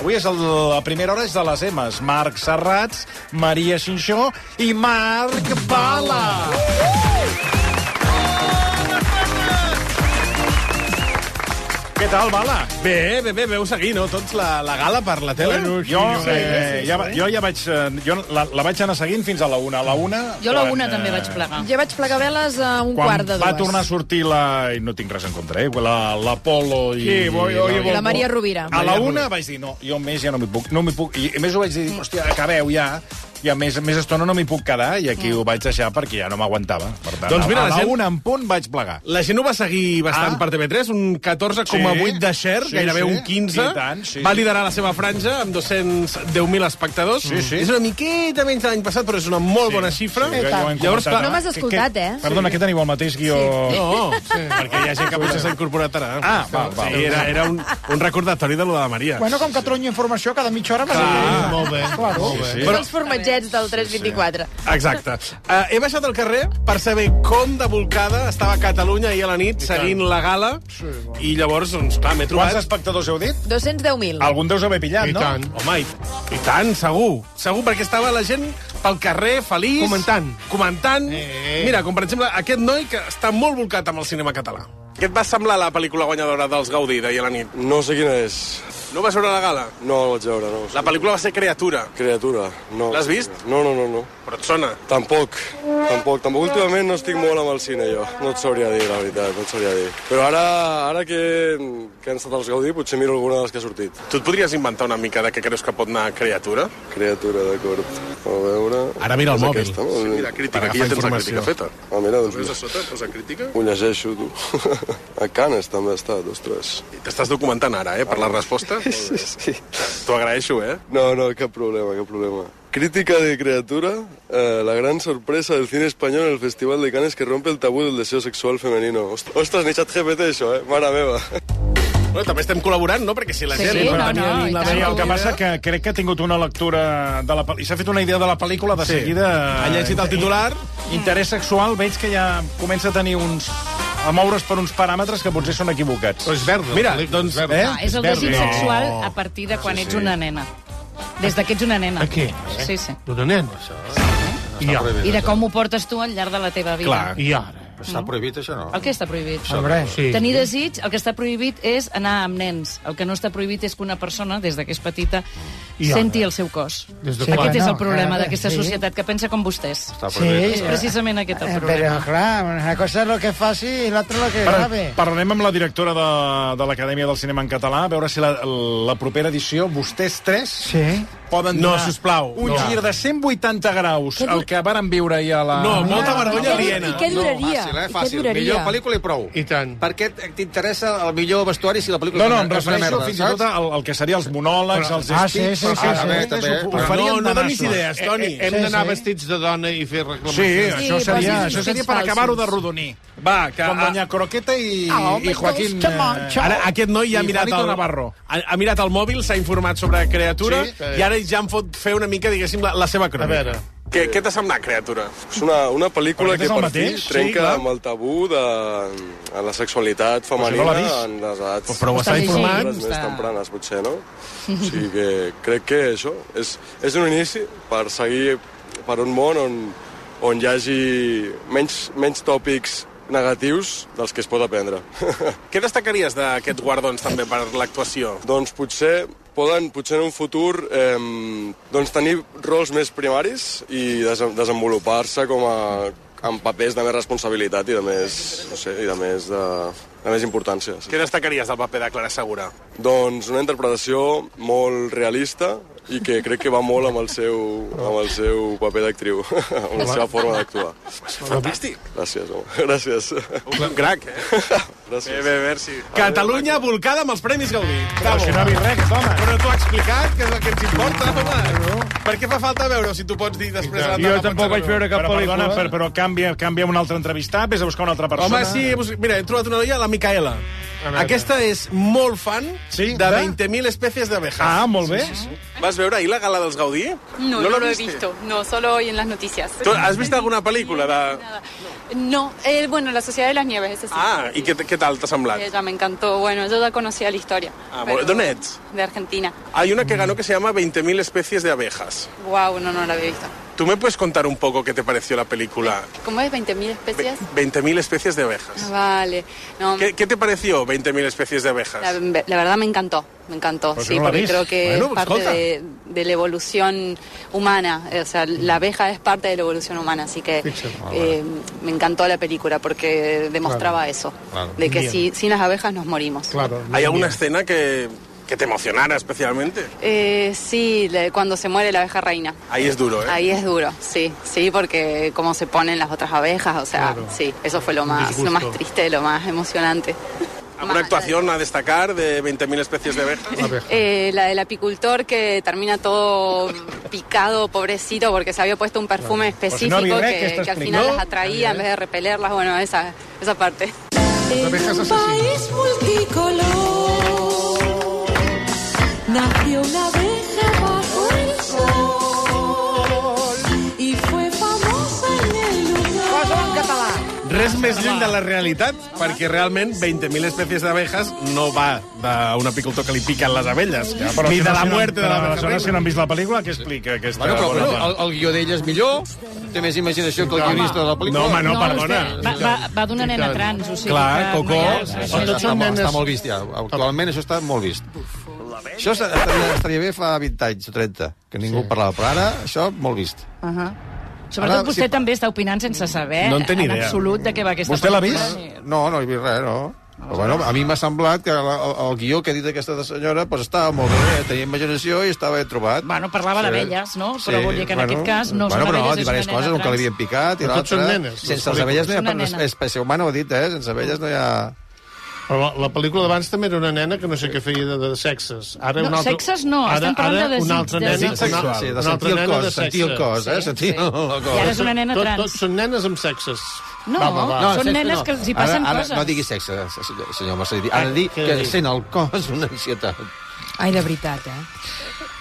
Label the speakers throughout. Speaker 1: Avui és el, la primera hora és de les Emes. Marc Serrats, Maria Xinxó i Marc Bala. Què tal, Bala?
Speaker 2: Bé, bé, bé, veu seguir, no? Tots la, la gala per la tele?
Speaker 1: jo, eh, ja, va- jo ja vaig... eh, Jo la, la vaig anar seguint fins a la una. A la una...
Speaker 3: Jo a la
Speaker 1: quan,
Speaker 3: una
Speaker 1: eh,
Speaker 3: també vaig plegar.
Speaker 4: Jo vaig plegar veles a un
Speaker 1: Quan
Speaker 4: quart de dues.
Speaker 1: va tornar a sortir la... i No tinc res en contra, eh? la- L'Apolo la, i...
Speaker 2: Sí, oi, oi, oi.
Speaker 4: La Maria Rovira.
Speaker 1: A la una vaig dir, no, jo més ja no m'hi puc, no m'hi puc. I a més ho vaig dir, hòstia, acabeu ja. I a més, més estona no m'hi puc quedar i
Speaker 4: Mm.
Speaker 1: aquí ho vaig deixar perquè ja no m'aguantava. Per tant,
Speaker 2: Doncs mira,
Speaker 1: a
Speaker 2: la
Speaker 1: la,
Speaker 2: gent-
Speaker 1: una en punt vaig plegar.
Speaker 2: La gent ho va seguir bastant ah.
Speaker 1: Ah.
Speaker 2: per TV3, un 14,8
Speaker 1: Sí.
Speaker 2: de share,
Speaker 1: Sí,
Speaker 2: gairebé
Speaker 1: sí.
Speaker 2: un 15.
Speaker 1: I tant, sí.
Speaker 2: Va liderar la seva franja amb 210.000 espectadors.
Speaker 1: Sí, sí.
Speaker 2: És una miqueta menys de l'any passat, però és una molt bona xifra.
Speaker 1: que ja ho hem
Speaker 2: Llavors,
Speaker 1: comentat,
Speaker 2: clar,
Speaker 4: No m'has escoltat,
Speaker 1: que,
Speaker 4: eh?
Speaker 1: Perdona, que teniu el mateix guió...
Speaker 2: No, sí. perquè hi ha gent que potser s'ha incorporat ara.
Speaker 1: Ah, val, val.
Speaker 2: Sí, era, era un, un recordatori de lo de la Maria.
Speaker 5: Bueno, com que tronyo informació, cada mitja hora m'has
Speaker 2: Ah,
Speaker 5: de
Speaker 2: molt bé.
Speaker 5: Claro.
Speaker 2: Molt bé.
Speaker 1: Sí,
Speaker 4: Tots els formatgets del 324.
Speaker 2: Exacte. Uh, he baixat al carrer per saber com de volcada estava Catalunya ahir a la nit seguint la gala sí, i llavors, doncs, clar, m'he
Speaker 1: Quants
Speaker 2: trobat...
Speaker 1: espectadors heu dit?
Speaker 4: 210.000.
Speaker 1: Algun deus haver pillat, no?
Speaker 2: Home, i, i tant, segur. Segur, perquè estava la gent pel carrer, feliç...
Speaker 5: Comentant.
Speaker 2: Comentant.
Speaker 5: Eh, eh.
Speaker 2: Mira, com per exemple aquest noi que està molt volcat amb el cinema català. Què et va semblar la pel·lícula guanyadora dels Gaudí d'ahir a la nit?
Speaker 6: No sé quina és.
Speaker 2: No vas veure la gala?
Speaker 6: No la vaig veure, no.
Speaker 2: La pel·lícula va ser Creatura,
Speaker 6: Criatura, no.
Speaker 2: L'has vist?
Speaker 6: No, no, no, no.
Speaker 2: però et sona?
Speaker 6: Tampoc, tampoc. Tampoc últimament no estic molt amb el cine, jo. No et sabria dir, la veritat, no et sabria dir. Però ara, ara que, que han estat els Gaudí, potser miro alguna de les que ha sortit.
Speaker 2: Tu et podries inventar una mica de què creus que pot anar Creatura?
Speaker 6: Criatura, d'acord. A veure...
Speaker 2: Ara mira el
Speaker 6: És
Speaker 2: mòbil.
Speaker 6: Aquesta, no?
Speaker 2: Sí, mira, crítica,
Speaker 6: Per
Speaker 2: aquí ja
Speaker 6: agafar
Speaker 2: tens la
Speaker 6: informació.
Speaker 2: crítica feta.
Speaker 6: Ah, mira, doncs
Speaker 2: Veus a
Speaker 6: mira.
Speaker 2: sota, posa crítica?
Speaker 6: Ho llegeixo, tu. a Canes també ha estat, ostres.
Speaker 2: T'estàs documentant ara, eh, per la resposta.
Speaker 6: Sí.
Speaker 2: T'ho agraeixo, eh?
Speaker 6: No, no, cap problema, cap problema. Crítica de criatura, eh, la gran sorpresa del cine español en el Festival de Cannes que rompe el tabú del deseo sexual femenino. Ost- Ostres, ni xat GPT, això, eh? Mare meva.
Speaker 2: Bueno, també estem col·laborant, no?, perquè si la
Speaker 3: Sí,
Speaker 2: gent...
Speaker 3: sí,
Speaker 2: no
Speaker 3: no,
Speaker 2: tenia
Speaker 3: no,
Speaker 2: ni
Speaker 3: i
Speaker 2: la
Speaker 3: tant.
Speaker 1: Sí,
Speaker 2: menor
Speaker 1: el que
Speaker 2: idea-
Speaker 1: passa que crec que ha tingut una lectura de la pel·lícula... I s'ha fet una idea de la pel·lícula de
Speaker 2: Sí.
Speaker 1: seguida... eh,
Speaker 2: Ha llegit el titular.
Speaker 1: Interès sexual, veig que ja comença a tenir uns... a moure's per uns paràmetres que potser són equivocats.
Speaker 5: és verda.
Speaker 2: Mira, doncs,
Speaker 5: verda.
Speaker 1: eh?
Speaker 3: Ah, és el
Speaker 1: Verdi.
Speaker 3: desig
Speaker 1: No.
Speaker 3: sexual a partir de quan ets una nena. Des de que ets una nena.
Speaker 5: A què?
Speaker 3: Sí, sí.
Speaker 5: D'una nena. Això, I, ara.
Speaker 3: I de com ho portes tu al llarg de la teva vida. Mm.
Speaker 2: Clar.
Speaker 5: I ara.
Speaker 7: Està prohibit, això, no?
Speaker 3: El que està prohibit?
Speaker 5: Hombre, sí.
Speaker 3: Tenir desig, el que està prohibit és anar amb nens. El que no està prohibit és que una persona, des de que és petita,
Speaker 5: I ara?
Speaker 3: senti el seu cos.
Speaker 5: Des de
Speaker 3: Aquest
Speaker 5: quan?
Speaker 3: és
Speaker 8: Bueno,
Speaker 3: el problema
Speaker 8: clar,
Speaker 3: d'aquesta
Speaker 8: sí.
Speaker 3: societat, que pensa com vostès.
Speaker 7: Està
Speaker 8: Sí,
Speaker 7: prohibit.
Speaker 3: És
Speaker 8: eh,
Speaker 3: precisament aquest el
Speaker 8: eh,
Speaker 3: problema.
Speaker 8: Pero claro, una cosa es lo que es fácil y la otra lo que
Speaker 1: Par
Speaker 8: sabe.
Speaker 1: parlem amb la directora de, de l'Acadèmia del Cinema en Català, a veure si la, la propera edició, vostès tres,
Speaker 8: Sí.
Speaker 1: poden
Speaker 2: No,
Speaker 1: donar
Speaker 2: sisplau,
Speaker 1: un
Speaker 2: no.
Speaker 1: gir de 180 graus
Speaker 4: Que dur-
Speaker 1: al que varen viure ahir a la...
Speaker 2: No, molta
Speaker 4: Ah.
Speaker 7: Ah,
Speaker 4: I
Speaker 2: vergonya
Speaker 4: què-
Speaker 2: aliena.
Speaker 4: I què duraria?
Speaker 7: No, fàcil, eh?
Speaker 4: I què
Speaker 7: Fàcil.
Speaker 4: duraria?
Speaker 7: Millor pel·lícula i prou.
Speaker 5: I tant.
Speaker 7: Per què t'interessa el millor vestuari si la
Speaker 1: No,
Speaker 7: pel·lícula
Speaker 1: no, em
Speaker 7: és una
Speaker 1: refereixo
Speaker 7: merda,
Speaker 1: fins i
Speaker 7: saps?
Speaker 1: tot al, al que seria els monòlegs, els
Speaker 8: Ah, sí,
Speaker 1: escrits...
Speaker 8: sí, sí,
Speaker 7: sí.
Speaker 1: Ho,
Speaker 7: Però
Speaker 1: eh. ho farien
Speaker 2: no, no
Speaker 1: de
Speaker 2: donis
Speaker 1: nassos.
Speaker 2: idees, Toni.
Speaker 5: Eh, Hem
Speaker 8: Eh, Sí,
Speaker 5: d'anar
Speaker 8: sí.
Speaker 5: vestits de dona i fer
Speaker 1: eh, Sí,
Speaker 5: reclamacions.
Speaker 1: això
Speaker 4: Sí,
Speaker 1: seria,
Speaker 4: posis
Speaker 1: això seria per
Speaker 4: falsos.
Speaker 1: acabar-ho de rodoní.
Speaker 2: Va, que...
Speaker 1: Com
Speaker 2: a-
Speaker 1: guanyar Croqueta i,
Speaker 8: Ah,
Speaker 1: i
Speaker 8: home,
Speaker 1: Joaquín...
Speaker 8: que manxa.
Speaker 2: eh, Ara, aquest noi ja ha
Speaker 1: I
Speaker 2: mirat
Speaker 1: Juanito
Speaker 2: el,
Speaker 1: Navarro.
Speaker 2: Ha, ha mirat el mòbil, s'ha informat sobre Creatura
Speaker 5: Sí,
Speaker 2: sí,
Speaker 5: sí.
Speaker 2: i ara ja em fot fer una mica, diguéssim, la, la seva crònica.
Speaker 5: veure.
Speaker 2: Què, què t'ha semblat, Creatura?
Speaker 6: És una, una pel·lícula
Speaker 1: Però aquest
Speaker 6: que
Speaker 1: és el
Speaker 6: per fi
Speaker 1: mateix? Sí,
Speaker 6: trenca
Speaker 1: clar.
Speaker 6: amb el tabú de, a la sexualitat
Speaker 1: no l'ha
Speaker 6: femenina
Speaker 1: vist.
Speaker 6: en les edats...
Speaker 2: Però ho
Speaker 3: Està
Speaker 2: està informant.
Speaker 6: hores més
Speaker 3: Està-
Speaker 6: tempranes, potser, no? O sigui que crec que això és, és un inici per seguir per un món on, on hi hagi menys, menys tòpics negatius dels que es pot aprendre.
Speaker 2: Què destacaries d'aquests guardons també per l'actuació?
Speaker 6: doncs potser poden, potser en un futur, eh, doncs tenir rols més primaris i des desenvolupar-se com a amb papers de més responsabilitat i de més, no sé, i de més, de, de més importància. Sí.
Speaker 2: Què destacaries del paper de Clara Segura?
Speaker 6: Doncs una interpretació molt realista i que crec que va molt amb el seu, amb el seu paper d'actriu, amb la seva forma d'actuar.
Speaker 2: Fantàstic.
Speaker 6: Gràcies, home. Gràcies.
Speaker 2: Un crac, eh?
Speaker 6: Gràcies.
Speaker 2: bé, merci. Catalunya volcada amb els Premis Gaudí.
Speaker 1: Però si no ha vist res, home.
Speaker 2: Però t'ho ha explicat, que és el que ens importa, home. Per què fa falta veure si tu pots dir després... la- la- la-
Speaker 1: però, perdona, però, però canvia, canvia un altre entrevistat, vés a buscar una altra persona.
Speaker 2: Home, sí, he buscat- mira, he trobat una noia, la Micaela. Aquesta és molt fan
Speaker 1: Sí,
Speaker 2: de
Speaker 1: de?
Speaker 2: 20.000 espècies d'abejas.
Speaker 1: Ah, molt bé.
Speaker 2: ¿Vas a ver ahí la gala de los Gaudí?
Speaker 9: No, no,
Speaker 2: la
Speaker 9: lo he
Speaker 2: viste?
Speaker 9: visto. No, solo hoy en las noticias.
Speaker 2: ¿Tú ¿Has visto alguna película? de-
Speaker 9: Nada. No, eh, bueno, La Sociedad de las Nieves, es así.
Speaker 2: Ah, ¿y qué, qué
Speaker 6: tal t'ha semblat?
Speaker 9: Ella me encantó. Bueno, yo ya conocía la historia.
Speaker 6: Ah,
Speaker 9: pero-
Speaker 6: bueno, ¿Dónde ets?
Speaker 9: De Argentina.
Speaker 6: Hay una que ganó que se llama 20.000 especies de abejas.
Speaker 9: Wow, no, no la había visto.
Speaker 6: ¿Tú me puedes contar un poco qué te pareció la película
Speaker 9: ¿Cómo es? ¿20.000
Speaker 6: Ve-
Speaker 9: especies?
Speaker 6: 20.000 especies de abejas?
Speaker 9: Ah, Vale. No,
Speaker 6: ¿Qué, qué te pareció 20.000 especies de
Speaker 9: La,
Speaker 6: abejas?
Speaker 9: la verdad me encantó, me encantó,
Speaker 1: Pues
Speaker 9: sí,
Speaker 1: no la
Speaker 9: porque
Speaker 1: ves.
Speaker 9: creo que
Speaker 2: Bueno,
Speaker 9: es
Speaker 2: pues
Speaker 9: parte
Speaker 2: escolta.
Speaker 9: de, de la evolución humana, Eh, o sea, la abeja es parte de la evolución humana, así que eh, me encantó la película porque demostraba eso, de que
Speaker 2: Bien.
Speaker 9: si, sin las abejas nos morimos.
Speaker 5: Claro.
Speaker 6: ¿Hay alguna escena que, que te emocionara especialmente?
Speaker 9: Eh, sí, le- cuando se muere la abeja reina.
Speaker 6: Ahí es duro, ¿eh?
Speaker 9: Ahí es duro, sí, sí, porque cómo se ponen las otras abejas, o sea, sí, eso fue lo más, lo más triste, lo más emocionante.
Speaker 6: ¿Alguna actuación a destacar de 20.000 especies de abejas?
Speaker 9: Eh, la del apicultor que termina todo picado, pobrecito, porque se había puesto un perfume específico
Speaker 1: Pues no había
Speaker 9: que,
Speaker 1: que esto
Speaker 9: que al final
Speaker 1: explicó.
Speaker 9: las atraía en vez de repelerlas. Bueno, esa, esa parte.
Speaker 10: En
Speaker 5: abejas
Speaker 10: un
Speaker 5: asesinas.
Speaker 10: país multicolor nació una abeja bajo el sol y fue famosa en el lugar.
Speaker 4: Posa-ho en català.
Speaker 2: Res més lluny de la realitat, perquè realment 20.000 espècies d'abejas no va d'un apicultor que li piquen les abelles, ja,
Speaker 1: Però
Speaker 2: ni de la
Speaker 1: si no-
Speaker 2: muerte de
Speaker 1: però
Speaker 2: l'abeja.
Speaker 1: Aleshores, si no
Speaker 2: reina.
Speaker 1: han vist la pel·lícula, què explica aquesta
Speaker 7: Bueno, però,
Speaker 1: bona
Speaker 7: bueno,
Speaker 1: part?
Speaker 7: el, el guió d'ella és millor, té més imaginació que el guionista de la pel·lícula.
Speaker 2: No, home, no, perdona.
Speaker 3: Va, va, va d'una nena trans, o sigui
Speaker 2: Clar,
Speaker 3: que...
Speaker 2: Coco,
Speaker 3: res
Speaker 7: Això
Speaker 3: més.
Speaker 7: està, molt, està molt vist, ja. Actualment això està molt vist. Això està- estaria, estaria bé fa 20 anys o 30, que ningú sí. parlava, però ara això molt vist.
Speaker 3: Ahà. Sobretot
Speaker 7: Ara,
Speaker 3: vostè
Speaker 7: sí, pa-
Speaker 3: també està opinant sense saber
Speaker 2: No en té ni
Speaker 3: Eh, en
Speaker 2: idea.
Speaker 3: absolut de què va aquesta
Speaker 1: Vostè l'ha
Speaker 3: pel·lícula, ni-
Speaker 7: No, no he vist res, no. Però, bueno, a mi m'ha semblat que la, el, el guió que ha dit aquesta senyora pues, estava molt bé, eh? tenia imaginació i estava ben trobat.
Speaker 3: Bueno, parlava d'abelles, no? Però vull dir que en aquest cas no
Speaker 7: bueno,
Speaker 3: són
Speaker 7: però
Speaker 3: abelles, és una
Speaker 7: diverses
Speaker 3: nena
Speaker 7: coses, un que
Speaker 3: trans.
Speaker 7: l'havien picat i
Speaker 5: Però tots
Speaker 7: l'altre...
Speaker 5: són nenes, les
Speaker 7: Sense les abelles no hi
Speaker 3: Una
Speaker 7: ha...
Speaker 3: nena.
Speaker 7: Espècie humana ho he dit, eh? Sense abelles no hi ha...
Speaker 5: Però la, la pel·lícula d'abans també era una nena que no sé què feia de, de sexes. Ara
Speaker 3: No,
Speaker 5: un altre,
Speaker 3: sexes no,
Speaker 5: ara,
Speaker 3: estem parlant
Speaker 5: ara,
Speaker 3: de desig-
Speaker 5: Una altra
Speaker 3: de
Speaker 5: nena,
Speaker 3: desig
Speaker 5: una,
Speaker 7: Sí, de
Speaker 5: una
Speaker 7: sentir
Speaker 5: altra
Speaker 7: el
Speaker 5: nena
Speaker 7: cos,
Speaker 5: de
Speaker 7: sentir el
Speaker 5: sexe.
Speaker 7: cos, eh?
Speaker 3: Sí,
Speaker 7: Sentir
Speaker 3: sí.
Speaker 7: el
Speaker 3: I ara
Speaker 7: cos.
Speaker 3: és una nena
Speaker 5: Tot,
Speaker 3: trans.
Speaker 5: tot són nenes amb sexes.
Speaker 3: No,
Speaker 5: va, va, va.
Speaker 3: són
Speaker 7: sense-
Speaker 3: nenes que els hi passen
Speaker 7: ara, ara,
Speaker 3: coses.
Speaker 7: No digui sexe, senyor, senyor Mercedí. Ara
Speaker 5: Ai,
Speaker 7: dir
Speaker 5: què
Speaker 7: que
Speaker 5: dic?
Speaker 7: sent el cos una ansietat.
Speaker 4: Ai, de veritat, eh?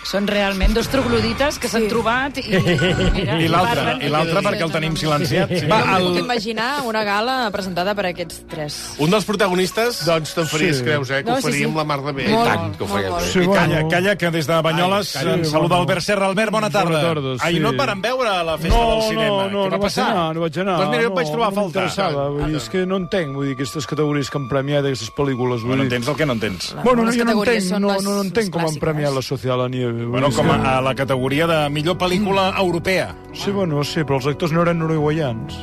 Speaker 3: Són realment dos troglodites que s'han
Speaker 4: Sí.
Speaker 3: trobat i... mira,
Speaker 1: I l'altre,
Speaker 3: parlen-
Speaker 1: i l'altre perquè el tenim silenciat. Sí.
Speaker 2: Va,
Speaker 4: El... Puc
Speaker 2: el,
Speaker 4: imaginar una gala presentada per aquests tres.
Speaker 2: un dels protagonistes...
Speaker 5: Doncs te'n faries sí. creus, eh, que no, ho faríem sí, sí. la mar de bé.
Speaker 4: Molt,
Speaker 7: tant, que ho
Speaker 4: molt
Speaker 7: faria
Speaker 4: bo.
Speaker 7: bé.
Speaker 1: I calla, calla, que des de Banyoles
Speaker 5: Ai, calla,
Speaker 1: ens
Speaker 5: sí,
Speaker 1: saluda
Speaker 5: bueno.
Speaker 1: Albert Serra. Albert, bona tarda.
Speaker 11: Bona tarda, sí.
Speaker 1: Ahir no et varen veure a la festa del cinema.
Speaker 11: No, no,
Speaker 1: Què va
Speaker 11: no vaig
Speaker 1: passar?
Speaker 11: anar, no vaig anar.
Speaker 1: Doncs mira, jo et vaig trobar a
Speaker 11: no
Speaker 1: faltar.
Speaker 11: m'interessava, Vull dir, és que no entenc, vull dir, aquestes categories que han premiat aquestes pel·lícules. Vull
Speaker 1: Bueno,
Speaker 11: dir.
Speaker 1: entens el que no entens.
Speaker 11: Bueno, no,
Speaker 4: Algunes
Speaker 11: jo no
Speaker 4: categories
Speaker 11: entenc,
Speaker 4: són
Speaker 11: no,
Speaker 4: les-
Speaker 11: no, no
Speaker 4: les
Speaker 11: entenc com han
Speaker 4: clàssiques.
Speaker 11: premiat la Sociedad a la Nieve. vull
Speaker 1: Bueno,
Speaker 11: dir,
Speaker 1: com
Speaker 11: sí.
Speaker 1: a, a la categoria de millor pel·lícula europea.
Speaker 11: Sí, bueno, sí, però els actors no eren uruguaians.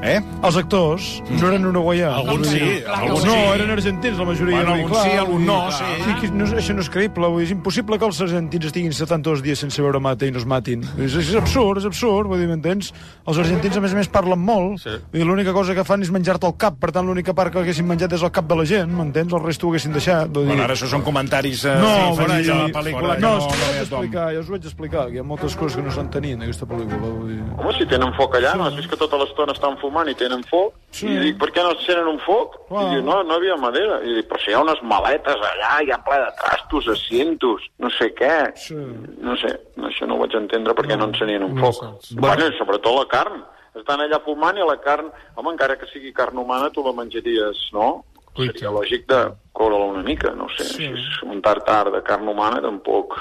Speaker 1: Eh? Mm.
Speaker 11: Els actors no eren uruguaians.
Speaker 2: Alguns sí,
Speaker 11: Alguns
Speaker 1: alguns
Speaker 11: no,
Speaker 1: Doncs sí.
Speaker 11: eren argentins, la majoria.
Speaker 1: Bueno,
Speaker 11: vull dir,
Speaker 1: alguns
Speaker 11: clar,
Speaker 1: sí, alguns no,
Speaker 11: vull dir,
Speaker 1: sí.
Speaker 11: sí que no, és- això no és creïble, vull dir, és impossible que els argentins estiguin 72 dies sense veure mate i no es matin. Vull dir, És, és absurd, és absurd, vull dir, m'entens? Els argentins, a més a més, parlen molt, sí. i l'única cosa que fan és menjar-te el cap, per tant, l'única part que haguessin menjat és el cap de la gent, m'entens? El resto ho haguessin deixat, vull dir...
Speaker 1: Bueno, ara això són comentaris eh,
Speaker 11: No,
Speaker 1: sí,
Speaker 11: vull
Speaker 1: fora
Speaker 11: dir...
Speaker 1: de la pel·lícula. que
Speaker 11: No, és que
Speaker 1: no,
Speaker 11: ho
Speaker 1: no, no,
Speaker 11: vaig explicar, ja us ho vaig explicar, que hi ha moltes coses que no s'entenien, aquesta pel·lícula, vull dir...
Speaker 12: Home, si tenen foc allà, no has vist que tota l'estona estan fumant i tenen foc?
Speaker 11: Sí.
Speaker 12: Sí. I dic, per què no encenen un foc?
Speaker 11: Clar.
Speaker 12: I diu, no, no havia madera. I dic, però si hi ha unes maletes allà, hi ha ple de trastos, asientos, no sé què.
Speaker 11: Sí.
Speaker 12: No sé, això no ho vaig entendre perquè no, no encenien un foc. Bueno, i sobretot la carn. Estan allà fumant i la carn, home, encara que sigui carn humana, tu la menjaries, no? Seria lògic de coure-la una mica, no sé. Sí. Si és un tartar de carn humana, tampoc...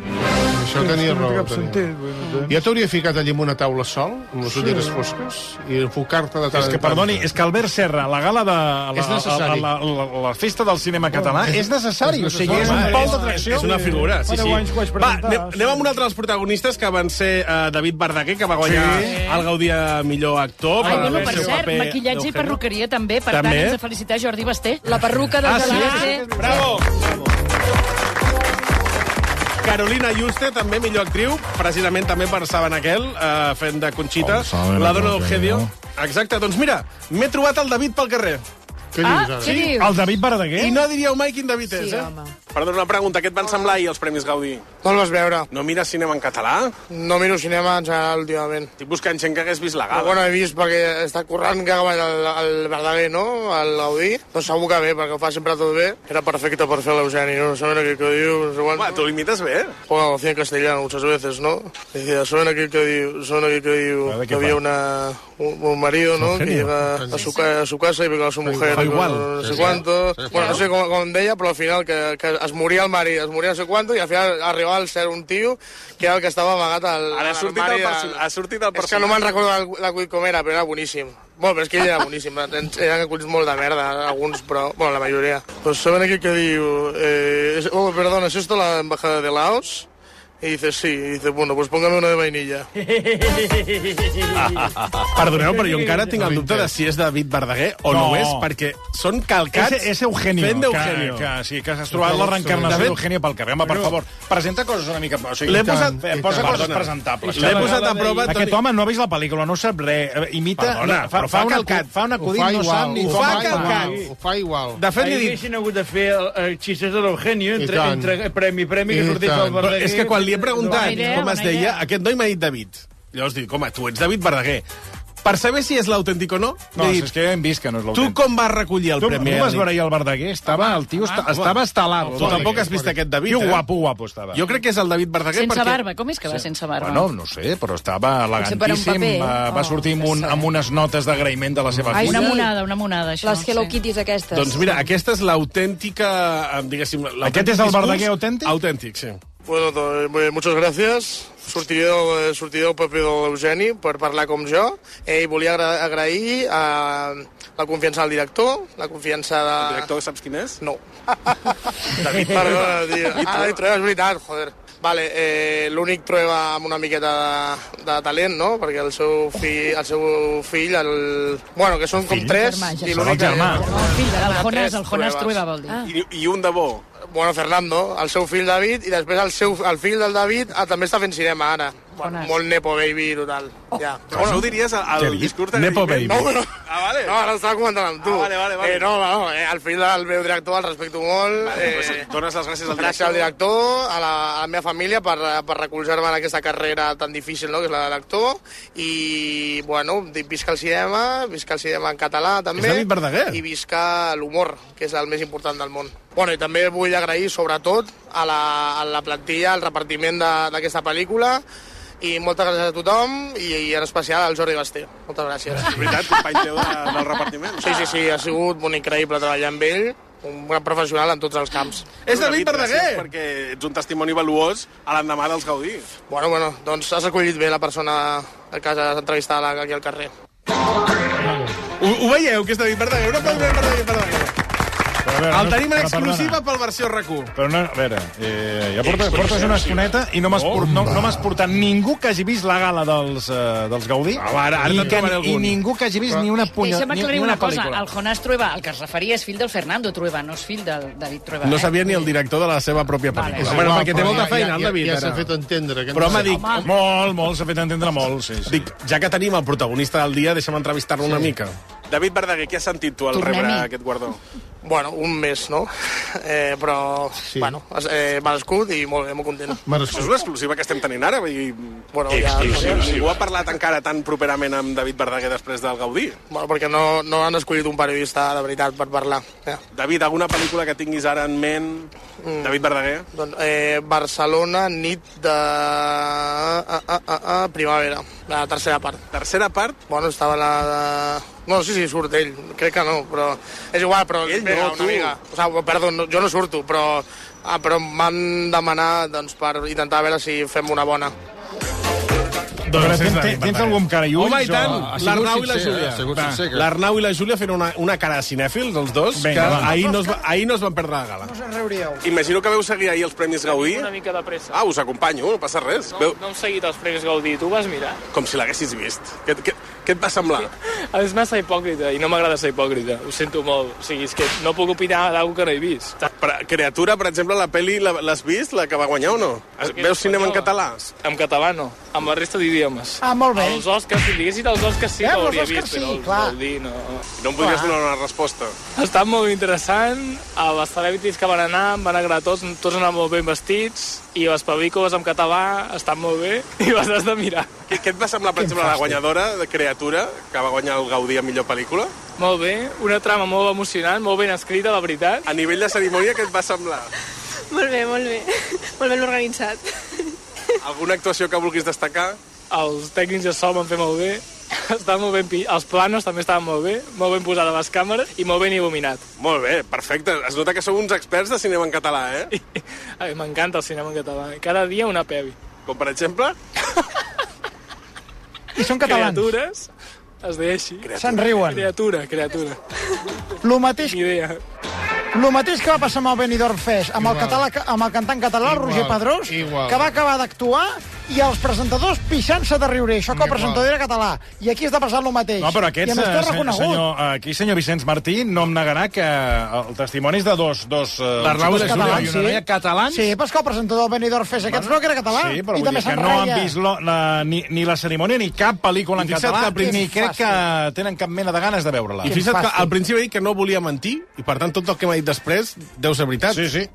Speaker 5: Això
Speaker 11: Tenia
Speaker 5: tenia
Speaker 11: no té
Speaker 5: raó.
Speaker 11: cap
Speaker 5: Tenia.
Speaker 11: sentit, vull dir, m'entens?
Speaker 5: Ja t'hauria ficat allà en una taula sol, amb les ulleres fosques, i enfocar-te de tant
Speaker 1: És que,
Speaker 5: en tant.
Speaker 1: perdoni, és que Albert Serra, la gala de... La,
Speaker 5: És necessari.
Speaker 1: La, la, la, la festa del cinema català Oh, és necessari. O sigui, és un
Speaker 2: Home,
Speaker 1: pol d'atracció.
Speaker 2: És una figura, sí,
Speaker 11: Fa deu anys
Speaker 2: sí.
Speaker 11: que ho vaig
Speaker 2: Va,
Speaker 11: presentar,
Speaker 2: anem,
Speaker 11: sí.
Speaker 2: anem amb un altre dels protagonistes, que van ser eh, David Verdaguer, que va guanyar sí. el Gaudí a millor actor.
Speaker 3: Ai, bueno,
Speaker 2: el
Speaker 3: per
Speaker 2: seu
Speaker 3: cert,
Speaker 2: paper
Speaker 3: maquillatge i
Speaker 2: d'Eugenio.
Speaker 3: perruqueria també, per
Speaker 2: També?
Speaker 3: tant, hem de felicitar Jordi Basté.
Speaker 4: La perruca del
Speaker 2: Ah, sí?
Speaker 4: Galante.
Speaker 2: Bravo! Carolina Juste, també millor actriu, precisament també per Saben Aquel, eh, fent de Conxita,
Speaker 1: Oh, Saben
Speaker 2: la dona
Speaker 1: Aquel,
Speaker 2: d'Eugenio. Exacte, doncs mira, m'he trobat el David pel carrer.
Speaker 5: Què dius, ara?
Speaker 1: Ah,
Speaker 4: Què dius?
Speaker 1: El David Verdaguer?
Speaker 2: I no diríeu mai quin David és,
Speaker 4: Sí,
Speaker 2: eh?
Speaker 4: home.
Speaker 2: Perdona, una pregunta. Què et van semblar ahir els Premis Gaudí?
Speaker 13: No el vas veure.
Speaker 2: No mires cinema en català?
Speaker 13: No miro cinema en general últimament.
Speaker 2: Estic buscant gent que hagués vist la
Speaker 13: Ah,
Speaker 2: gala.
Speaker 13: bueno, he vist perquè està currant que el, el Verdaguer, no?, el Gaudí. Doncs segur que bé, perquè ho fa sempre tot bé. Era perfecte per fer l'Eugeni, no? Saben aquell que diu, no sé quant. Home,
Speaker 2: tu imites bé.
Speaker 13: Juan lo hacía en castellano muchas veces, ¿no? Decía, saben aquell que diu, saben aquell que diu
Speaker 2: ver, ¿qué
Speaker 13: que había
Speaker 2: pasa?
Speaker 13: una, un, un marido, ¿no?, que
Speaker 2: genio.
Speaker 13: llega a su, ca- a su casa i pega a su mujer.
Speaker 2: fa
Speaker 13: no,
Speaker 2: igual.
Speaker 13: No,
Speaker 2: Sí,
Speaker 13: sé
Speaker 2: sí.
Speaker 13: cuánto.
Speaker 2: Sí,
Speaker 13: Bueno,
Speaker 2: claro.
Speaker 13: no sé com, com deia, però al final que, que es moria el marit, es moria no sé quanto, i al final arribava al ser un tio que era el que estava amagat al,
Speaker 2: Ara ha sortit el, perso ha sortit el
Speaker 13: és que no me'n
Speaker 2: personatge.
Speaker 13: recordo el- l'acull com era, però era boníssim. Bueno, però és que ell era boníssim. Eren aculls molt de merda, alguns, però... Bueno, la majoria. Pues saben aquell que diu... Eh, es- oh, perdona, ¿es esto la embajada de Laos? Y dice, sí. Y dice, bueno, pues póngame una de vainilla.
Speaker 2: Perdoneu, però jo encara tinc el dubte de si és David Verdaguer o no,
Speaker 1: No.
Speaker 2: no és, perquè són calcats...
Speaker 1: Ese- ese Eugenio,
Speaker 2: Fent
Speaker 1: que,
Speaker 2: d'Eugenio.
Speaker 1: que, sí, que has trobat la reencarnació
Speaker 2: David-
Speaker 1: d'Eugenio pel carrer. Home, per
Speaker 2: Però-
Speaker 1: favor, presenta coses una mica... O sigui,
Speaker 2: L'he
Speaker 1: i tant,
Speaker 2: posat-
Speaker 1: fe-
Speaker 2: i
Speaker 1: posa
Speaker 2: tant.
Speaker 1: coses
Speaker 2: Perdona.
Speaker 1: presentables.
Speaker 2: L'he posat a prova, Toni.
Speaker 1: Aquest home no ha vist la pel·lícula, no sap res. Eh, Imita...
Speaker 2: Perdona,
Speaker 1: no, fa,
Speaker 2: però
Speaker 1: fa,
Speaker 2: fa
Speaker 1: una,
Speaker 2: calcat.
Speaker 1: fa un acudit, no sap ni...
Speaker 2: ho
Speaker 1: com
Speaker 2: fa
Speaker 1: va.
Speaker 2: calcat.
Speaker 1: Ho
Speaker 5: Ho fa igual.
Speaker 2: De fet, li
Speaker 14: Ahir
Speaker 2: dic-
Speaker 14: haguessin hagut de fer el, el xistes de l'Eugenio entre,
Speaker 2: I tant.
Speaker 14: entre premi i premi que
Speaker 2: I
Speaker 14: sortís
Speaker 2: Eh, tant.
Speaker 14: el Verdaguer.
Speaker 2: Però És que quan li he preguntat
Speaker 14: Bona idea,
Speaker 2: com es
Speaker 14: bona
Speaker 2: deia,
Speaker 14: idea.
Speaker 2: aquest noi m'ha dit David. Llavors dic, home, tu ets David Verdaguer. Per saber si és l'autèntic o no,
Speaker 1: No,
Speaker 2: li he
Speaker 1: si
Speaker 2: dit,
Speaker 1: és que ja hem vist que no és
Speaker 2: tu
Speaker 1: l'autèntic.
Speaker 2: com vas recollir el
Speaker 1: Tu,
Speaker 2: premi?
Speaker 1: tu vas
Speaker 2: Enric?
Speaker 1: veure ahir el Verdaguer? Estava, el tio esta,
Speaker 2: Ah,
Speaker 1: estava
Speaker 2: home.
Speaker 1: estel·lat.
Speaker 2: Tu tampoc has vist aquest David,
Speaker 1: Tio
Speaker 2: eh?
Speaker 1: guapo, guapo estava.
Speaker 2: Jo crec que és el David Verdaguer
Speaker 3: Sense
Speaker 2: perquè...
Speaker 3: barba, com és que va sense barba?
Speaker 1: Bueno, no sé, però estava
Speaker 3: Potser per un
Speaker 1: elegantíssim.
Speaker 3: paper.
Speaker 1: va, va
Speaker 3: Oh,
Speaker 1: sortir amb, un, amb unes notes d'agraïment de la seva
Speaker 3: Ai, una
Speaker 1: filla.
Speaker 3: monada, una monada, això. Les Hello sí. Kitties aquestes.
Speaker 2: Doncs mira, aquesta és l'autèntica, eh, diguéssim... l'autèntic
Speaker 1: és el
Speaker 2: discurs
Speaker 1: Verdaguer autèntic?
Speaker 2: Autèntic, sí.
Speaker 13: Bueno, doncs, bé, muchas gracias. Sortiré, sortiré el paper de l'Eugeni per parlar com jo. Ell volia agra agrair eh, la confiança del director, la confiança de... El
Speaker 2: director saps quin és?
Speaker 13: No. David, perdona, tio. Ah, David Trueba, és veritat, joder. Vale, eh, l'únic prueba amb una miqueta de, de talent, no? Perquè el seu fill, el seu fill, el... Bueno, que són com
Speaker 2: Fill?
Speaker 13: tres.
Speaker 2: Germà, ja
Speaker 13: i
Speaker 2: sé.
Speaker 13: l'únic
Speaker 2: El germà.
Speaker 13: que-
Speaker 3: El Jonas, el
Speaker 13: Tres
Speaker 3: Jonas
Speaker 13: pruebes.
Speaker 3: Trueba vol
Speaker 13: Ah,
Speaker 3: dir.
Speaker 2: I, I un de bo.
Speaker 13: Bueno, Fernando, el seu fill David, i després el, seu, el fill del David ah, també està fent cinema ara. Bueno, molt nepo baby, total. Oh. Ja.
Speaker 2: Però això ho diries al- al
Speaker 13: Què dius?
Speaker 2: discurs d'agraïment.
Speaker 13: No,
Speaker 2: No,
Speaker 13: no.
Speaker 2: no. Ah, vale.
Speaker 13: No, ara estava comentant amb tu.
Speaker 2: Ah, vale, vale, vale.
Speaker 13: Eh, no, no, eh, el fill del meu director el respecto molt.
Speaker 2: Vale,
Speaker 13: eh,
Speaker 2: doncs dones les gràcies al
Speaker 13: gràcies
Speaker 2: director.
Speaker 13: al director, a la, a la meva família per, per recolzar-me en aquesta carrera tan difícil, no?, que és la de l'actor. I, bueno, dic, visca el cinema, visca el cinema en català, també.
Speaker 2: És David Verdaguer.
Speaker 13: I visca l'humor, que és el més important del món. Bueno, i també vull agrair, sobretot, a la, a la plantilla, al repartiment de- d'aquesta pel·lícula, i moltes gràcies a tothom, i, i en especial al Jordi Basté. Moltes gràcies.
Speaker 2: És veritat, company teu de- del repartiment.
Speaker 13: Sí, sí, sí, ha sigut un increïble treballar amb ell, un gran professional en tots els camps.
Speaker 2: És David Verdaguer! Perquè ets un testimoni valuós a l'endemà dels Gaudí.
Speaker 13: Bueno, bueno, doncs has acollit bé la persona que has entrevistat a la- aquí al carrer.
Speaker 2: Ho, ho veieu, que és David Verdaguer? Un aplaudiment per David Verdaguer.
Speaker 1: Però a veure,
Speaker 2: El
Speaker 1: no-
Speaker 2: tenim en
Speaker 1: però perdona.
Speaker 2: exclusiva pel versió RAC1.
Speaker 1: Però no, a veure, eh, ja portes,
Speaker 2: Exclusiva.
Speaker 1: portes una estoneta i no m'has port, no, no m'has portat ningú que hagi vist la gala dels, eh, dels Gaudí
Speaker 2: Ah, va, ara- ara
Speaker 1: i,
Speaker 2: te'n trobaré
Speaker 1: i
Speaker 2: algun.
Speaker 1: ningú que hagi vist ni una punya,
Speaker 3: Deixa'm
Speaker 1: ni,
Speaker 3: aclarir
Speaker 1: ni una,
Speaker 3: una cosa.
Speaker 1: pel·lícula.
Speaker 3: El Jonas Trueba, el que es referia, és fill del Fernando Trueba, no és fill del David Trueba.
Speaker 2: No
Speaker 3: eh?
Speaker 2: sabia ni el director de la seva pròpia pel·lícula. Vale. Bueno, perquè té molta feina, el David.
Speaker 5: Ja, ja
Speaker 2: ara.
Speaker 5: s'ha fet entendre. Que
Speaker 2: Però home, dic...
Speaker 5: Home,
Speaker 2: Molt, molt, s'ha fet entendre molt, sí, sí. Dic, ja que tenim el protagonista del dia, deixa'm entrevistar-lo sí. una mica. David Verdaguer, què has sentit tu al
Speaker 13: Tornem-hi.
Speaker 2: rebre aquest guardó?
Speaker 13: Bueno, un mes, no? Eh, però, sí. bueno, es- eh, merescut i molt bé, molt content.
Speaker 2: Això és una exclusiva que estem tenint ara. Vull dir,
Speaker 13: Bueno, ja- Exclusiva.
Speaker 2: Ningú ha parlat encara tan properament amb David Verdaguer després del Gaudí.
Speaker 13: Bueno, perquè no, no han escollit un periodista de veritat per parlar. Ja.
Speaker 2: David, alguna pel·lícula que tinguis ara en ment? Mm. David Verdaguer?
Speaker 13: Doncs, eh, Barcelona, nit de... ah, A, a, a, a, primavera, la tercera part.
Speaker 2: Tercera part?
Speaker 13: Bueno, estava la de... No, sí, sí, surt ell. Crec que no, però... És igual, però...
Speaker 2: Ell
Speaker 13: vinga,
Speaker 2: no,
Speaker 13: una
Speaker 2: tu.
Speaker 13: mica. O sigui, perdó, no, jo no surto, però... Ah, però em van demanar doncs, per intentar veure si fem una bona.
Speaker 1: Doncs tens, tens, tens algú amb cara i ulls?
Speaker 2: Home, i tant!
Speaker 1: o-
Speaker 2: L'Arnau i la
Speaker 1: Ha sigut
Speaker 2: Júlia.
Speaker 1: sincer, que-
Speaker 2: L'Arnau i la Júlia fent una, una cara de cinèfils, els dos,
Speaker 1: Vinga,
Speaker 2: que
Speaker 1: va.
Speaker 2: ahir no, es, va- ahir no es van perdre la gala.
Speaker 15: us en reuríeu.
Speaker 2: Imagino que veu seguir ahir els Premis Gaudí.
Speaker 15: Una mica de pressa.
Speaker 2: Ah, us acompanyo, no passa res.
Speaker 15: No,
Speaker 2: Veu,
Speaker 15: no hem seguit els Premis Gaudí, tu ho vas mirar?
Speaker 2: com si l'haguessis vist. Què, què, què et va semblar?
Speaker 15: És massa hipòcrita i no m'agrada ser hipòcrita, ho sento molt. O sigui, és que no puc opinar d'algú que no he vist.
Speaker 6: per- Criatura, per exemple, la peli la- l'has vist, la que va guanyar o no? Es- Veus cinema en català?
Speaker 15: En català no, amb la resta d'idiomes.
Speaker 8: Ah, molt bé.
Speaker 15: Els Oscars, si diguessin els Oscars sí
Speaker 8: Eh,
Speaker 15: que
Speaker 8: els
Speaker 15: l'hauria
Speaker 8: Oscars
Speaker 15: vist, però
Speaker 8: sí,
Speaker 15: els
Speaker 8: clar.
Speaker 15: Gaudí no.
Speaker 6: No em podries donar una resposta.
Speaker 15: Ha estat molt interessant, a les celebrities que van anar em van agradar tots, tots anaven molt ben vestits, i les pel·lícules en català estan molt bé, i les has de mirar.
Speaker 6: Què, què et va semblar, per exemple, la guanyadora de Criatura, que va guanyar el Gaudí a millor pel·lícula?
Speaker 15: Molt bé, una trama molt emocionant, molt ben escrita, la veritat.
Speaker 6: A nivell de cerimònia, què et va semblar?
Speaker 16: Molt bé, molt bé. Molt ben organitzat.
Speaker 6: Alguna actuació que vulguis destacar?
Speaker 15: Els tècnics de so van fer molt bé, estaven molt ben pi... Els planos també estaven molt bé, molt ben posades les càmeres i molt ben il·luminat.
Speaker 6: Molt bé, perfecte. Es nota que sou uns experts de cinema en català, eh?
Speaker 15: Ai, M'encanta el cinema en català. Cada dia una pevi.
Speaker 6: Com per exemple?
Speaker 8: I són catalans.
Speaker 15: Criatures, es deia així.
Speaker 8: Se'n riuen.
Speaker 15: Criatura, criatura.
Speaker 8: Lo mateix,
Speaker 15: Ni idea.
Speaker 8: lo mateix que va passar amb el Benidorm Fest, amb, el,
Speaker 5: Igual.
Speaker 8: català, amb el cantant català, el
Speaker 5: Igual,
Speaker 8: Roger Pedrós,
Speaker 5: igual.
Speaker 8: que va acabar d'actuar i els presentadors pixant-se de riure. Això que el presentador era català. I aquí està passant el mateix.
Speaker 1: No, però
Speaker 8: I
Speaker 1: aquests,
Speaker 8: a més,
Speaker 1: eh,
Speaker 8: t'ho ha
Speaker 1: senyor,
Speaker 8: reconegut.
Speaker 1: senyor, aquí, senyor Vicenç Martí, no em negarà que eh, el testimoni és de dos... dos eh, uns
Speaker 8: Dos
Speaker 1: xicots
Speaker 8: Doncs catalans,
Speaker 1: i una noia catalans.
Speaker 8: Sí, però és que el presentador del Benidorm Fest aquests no que era català.
Speaker 1: Sí, però vull
Speaker 8: I també
Speaker 1: dir que
Speaker 8: se'n
Speaker 1: no han
Speaker 8: ratlla.
Speaker 1: vist lo, la, ni, ni la cerimònia ni cap pel·lícula en
Speaker 2: I fixa't
Speaker 1: català,
Speaker 2: que al principi-
Speaker 1: ni crec que tenen cap mena de ganes de veure-la.
Speaker 2: I fixa't que al principi va dir que no volia mentir, i per tant tot el que m'ha dit després deu ser veritat. Sí, sí.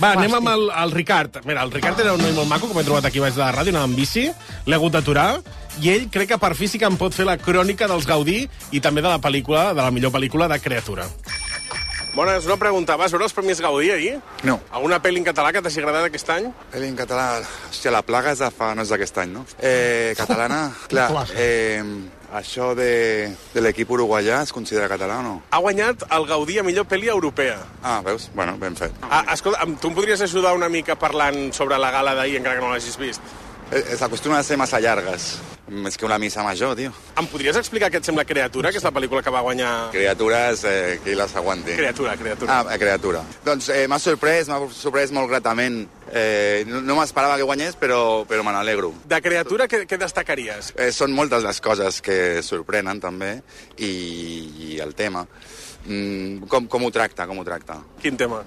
Speaker 2: Va, anem amb el, el Ricard. Mira, el Ricard era un noi molt maco que m'he trobat aquí baix de la ràdio, anava amb bici, l'he hagut d'aturar, i ell crec que per fi sí que em pot fer la crònica dels Gaudí i també de la pel·lícula, de la millor pel·lícula de Creatura.
Speaker 6: Bones, una pregunta. Vas veure els Premis Gaudí ahir?
Speaker 17: No.
Speaker 6: Alguna pel·li en català que t'hagi agradat aquest any?
Speaker 17: Pel·li en català... Hòstia, la plaga és de fa... no és d'aquest any, no? Eh, catalana, clar, eh, això de, de l'equip uruguaià es considera català o no?
Speaker 6: Ha guanyat el Gaudí a millor pel·li europea.
Speaker 17: Ah, veus? Bueno, ben fet.
Speaker 6: Ah, escolta, em- tu em podries ajudar una mica parlant sobre la gala d'ahir, encara que no l'hagis vist?
Speaker 17: Eh, S'acostuma a ser massa llargues. Més que una missa major, tio.
Speaker 6: Em podries explicar què et sembla Creatura, que és la pel·lícula que va guanyar...
Speaker 17: Criatures, eh, qui les aguanti.
Speaker 6: Criatura, criatura.
Speaker 17: Ah, eh, criatura. Doncs eh, m'ha sorprès, m'ha sorprès molt gratament. Eh, no no m'esperava que guanyés, però, però me n'alegro.
Speaker 6: De Creatura, què, què destacaries?
Speaker 17: Eh, són moltes les coses que sorprenen, també, i, i el tema. Mm, com, com ho tracta, com ho tracta?
Speaker 6: Quin tema?